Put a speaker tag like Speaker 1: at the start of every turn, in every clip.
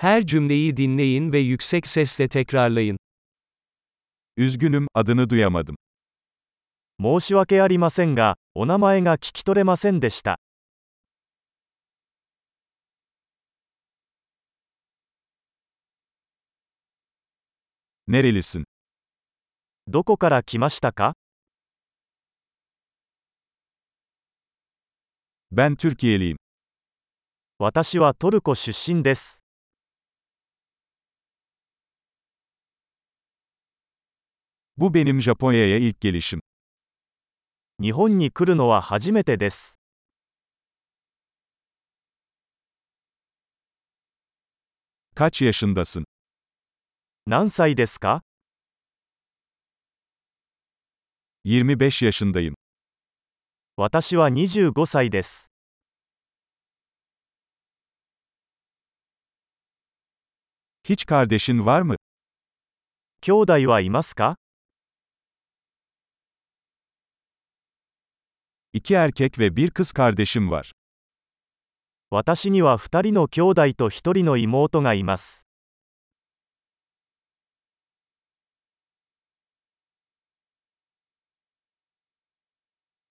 Speaker 1: Her cümleyi dinleyin ve yüksek sesle tekrarlayın.
Speaker 2: Üzgünüm, adını duyamadım.
Speaker 3: 申し訳ありませんが、お名前が聞き取れませんでした。
Speaker 2: Nerelisin?
Speaker 3: どこから来ましたか
Speaker 2: Ben Türkiye'liyim.
Speaker 3: 私はトルコ出身です。
Speaker 2: Bu benim Japonya'ya ilk gelişim.
Speaker 3: 日本に来るのは初めてです。
Speaker 2: Kaç yaşındasın?
Speaker 3: 何歳ですか
Speaker 2: 25 yaşındayım.
Speaker 3: 私は25歳です。
Speaker 2: Hiç kardeşin var mı?
Speaker 3: 兄弟はいますか
Speaker 2: İki erkek ve bir kız kardeşim var.
Speaker 3: 私には2人の兄弟と1人の妹がいます。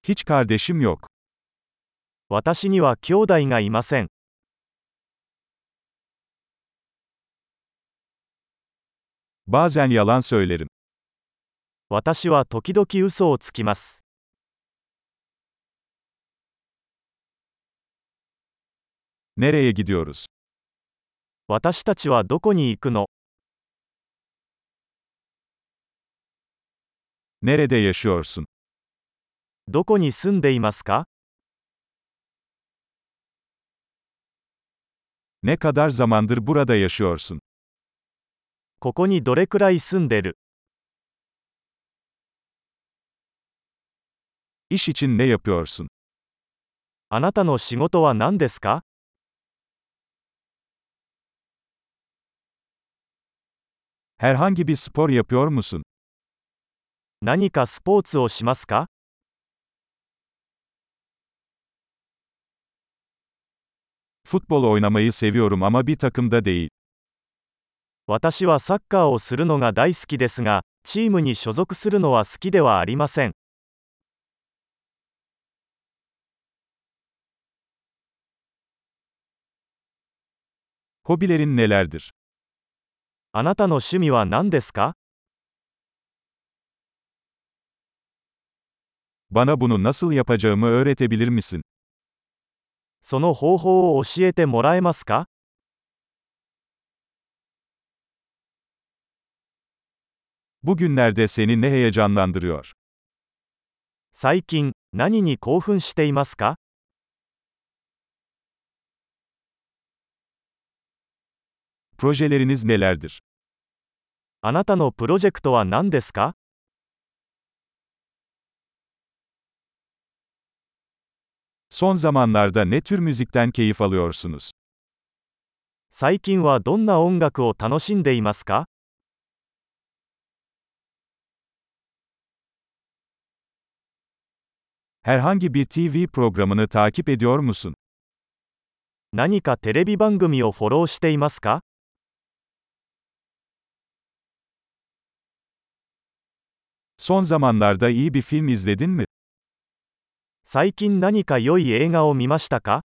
Speaker 2: Hiç kardeşim yok.
Speaker 3: 私には兄弟がいません。
Speaker 2: Bazen yalan söylerim.
Speaker 3: 私は時々嘘をつきます。
Speaker 2: Nereye gidiyoruz?
Speaker 3: 私たちはどこに行くの
Speaker 2: Nerede yaşıyorsun?
Speaker 3: どこに住んでいますか
Speaker 2: Ne kadar zamandır burada yaşıyorsun?
Speaker 3: ここにどれくらい住んでる
Speaker 2: İş için ne yapıyorsun?
Speaker 3: あなたの仕事は何ですか
Speaker 2: Herhangi bir spor yapıyor musun?
Speaker 3: 何かスポーツをしますか
Speaker 2: Futbol oynamayı seviyorum ama bir takımda değil.
Speaker 3: 私はサッカーをするのが大好きですが、チームに所属するのは好きではありません。
Speaker 2: Hobilerin nelerdir?
Speaker 3: あなたの趣味は何ですか
Speaker 2: Bana bunu nasıl yapacağımı öğretebilir misin?
Speaker 3: その方法を教えてもらえますか
Speaker 2: Bugünlerde seni ne heyecanlandırıyor?
Speaker 3: 最近、何に興奮していますか
Speaker 2: Projeleriniz nelerdir?
Speaker 3: あなたのプロジェクトは何ですか
Speaker 2: Son zamanlarda ne tür müzikten keyif alıyorsunuz?
Speaker 3: 最近はどんな音楽を楽しんでいますか
Speaker 2: Herhangi bir TV programını takip ediyor musun?
Speaker 3: 何かテレビ番組をフォローしていますか
Speaker 2: Son zamanlarda iyi bir film izledin mi?
Speaker 3: 最近何か良い映画を見ましたか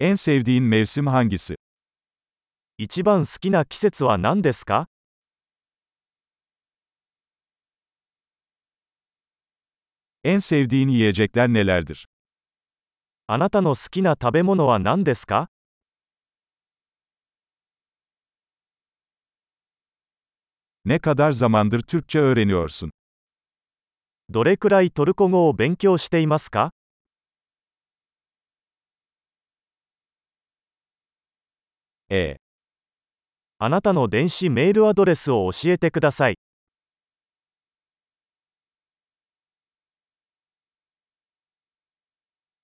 Speaker 2: En sevdiğin mevsim hangisi?
Speaker 3: 一番好きな季節は何ですか
Speaker 2: En sevdiğin yiyecekler nelerdir?
Speaker 3: あなたの好きな食べ物は何ですか
Speaker 2: Ne kadar zamandır Türkçe öğreniyorsun?
Speaker 3: どれくらいトルコ語を勉強していますか
Speaker 2: E.
Speaker 3: あなたの電子メールアドレスを教えてください。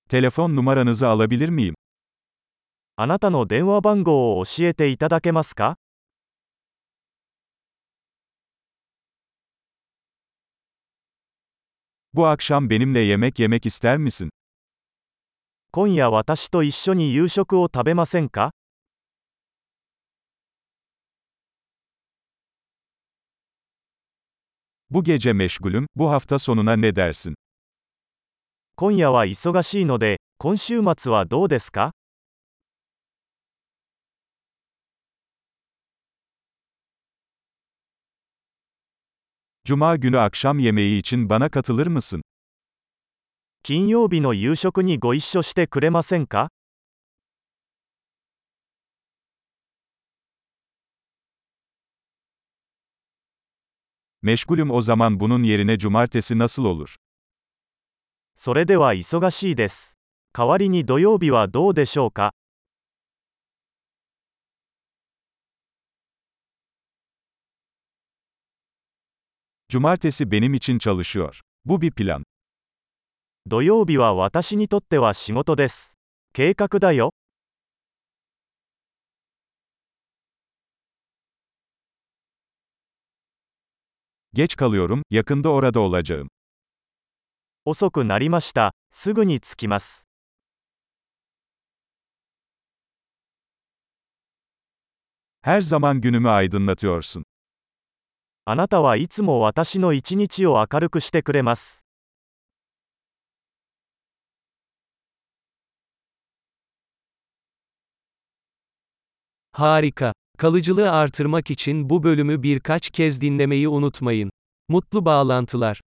Speaker 2: Telefon numaranızı alabilir miyim?
Speaker 3: あなたの電話番号を教えていただけますか
Speaker 2: Bu akşam benimle yemek yemek ister misin?
Speaker 3: 今夜私と一緒に夕食を食べませんか
Speaker 2: Bu gece meşgulüm, bu hafta sonuna ne dersin?
Speaker 3: 今夜は忙しいので、今週末はどうですか
Speaker 2: Cuma günü akşam yemeği için bana katılır mısın?
Speaker 3: 金曜日の夕食にご一緒してくれませんか
Speaker 2: Meşgulüm o zaman bunun yerine cumartesi nasıl olur?
Speaker 3: それでは忙しいです。代わりに土曜日はどうでしょうか
Speaker 2: Cumartesi benim için çalışıyor. Bu bir plan.
Speaker 3: 土曜日は私にとっては仕事です。計画だよ。
Speaker 2: Geç kalıyorum, yakında orada olacağım.
Speaker 3: 遅くなりました。すぐに着きます。
Speaker 2: Her zaman günümü aydınlatıyorsun.
Speaker 3: あなたはいつも私の一日を明るくしてくれます。
Speaker 1: Harika. Kalıcılığı artırmak için bu bölümü birkaç kez dinlemeyi unutmayın. Mutlu bağlantılar.